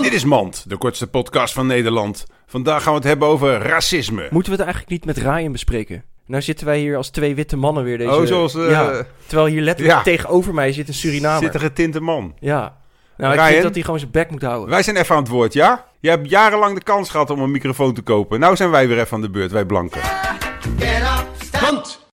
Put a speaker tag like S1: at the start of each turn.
S1: Dit is Mand, de kortste podcast van Nederland. Vandaag gaan we het hebben over racisme.
S2: Moeten we het eigenlijk niet met Ryan bespreken? Nou zitten wij hier als twee witte mannen weer deze...
S1: oh, zoals eh
S2: ja, terwijl hier letterlijk
S1: ja.
S2: tegenover mij zit een Surinamer.
S1: zit een getinte man.
S2: Ja. Nou, ik
S1: Ryan?
S2: vind dat hij gewoon zijn bek moet houden.
S1: Wij zijn even aan het woord, ja? Je hebt jarenlang de kans gehad om een microfoon te kopen. Nou zijn wij weer even aan de beurt, wij blanken.
S3: Get up, stand.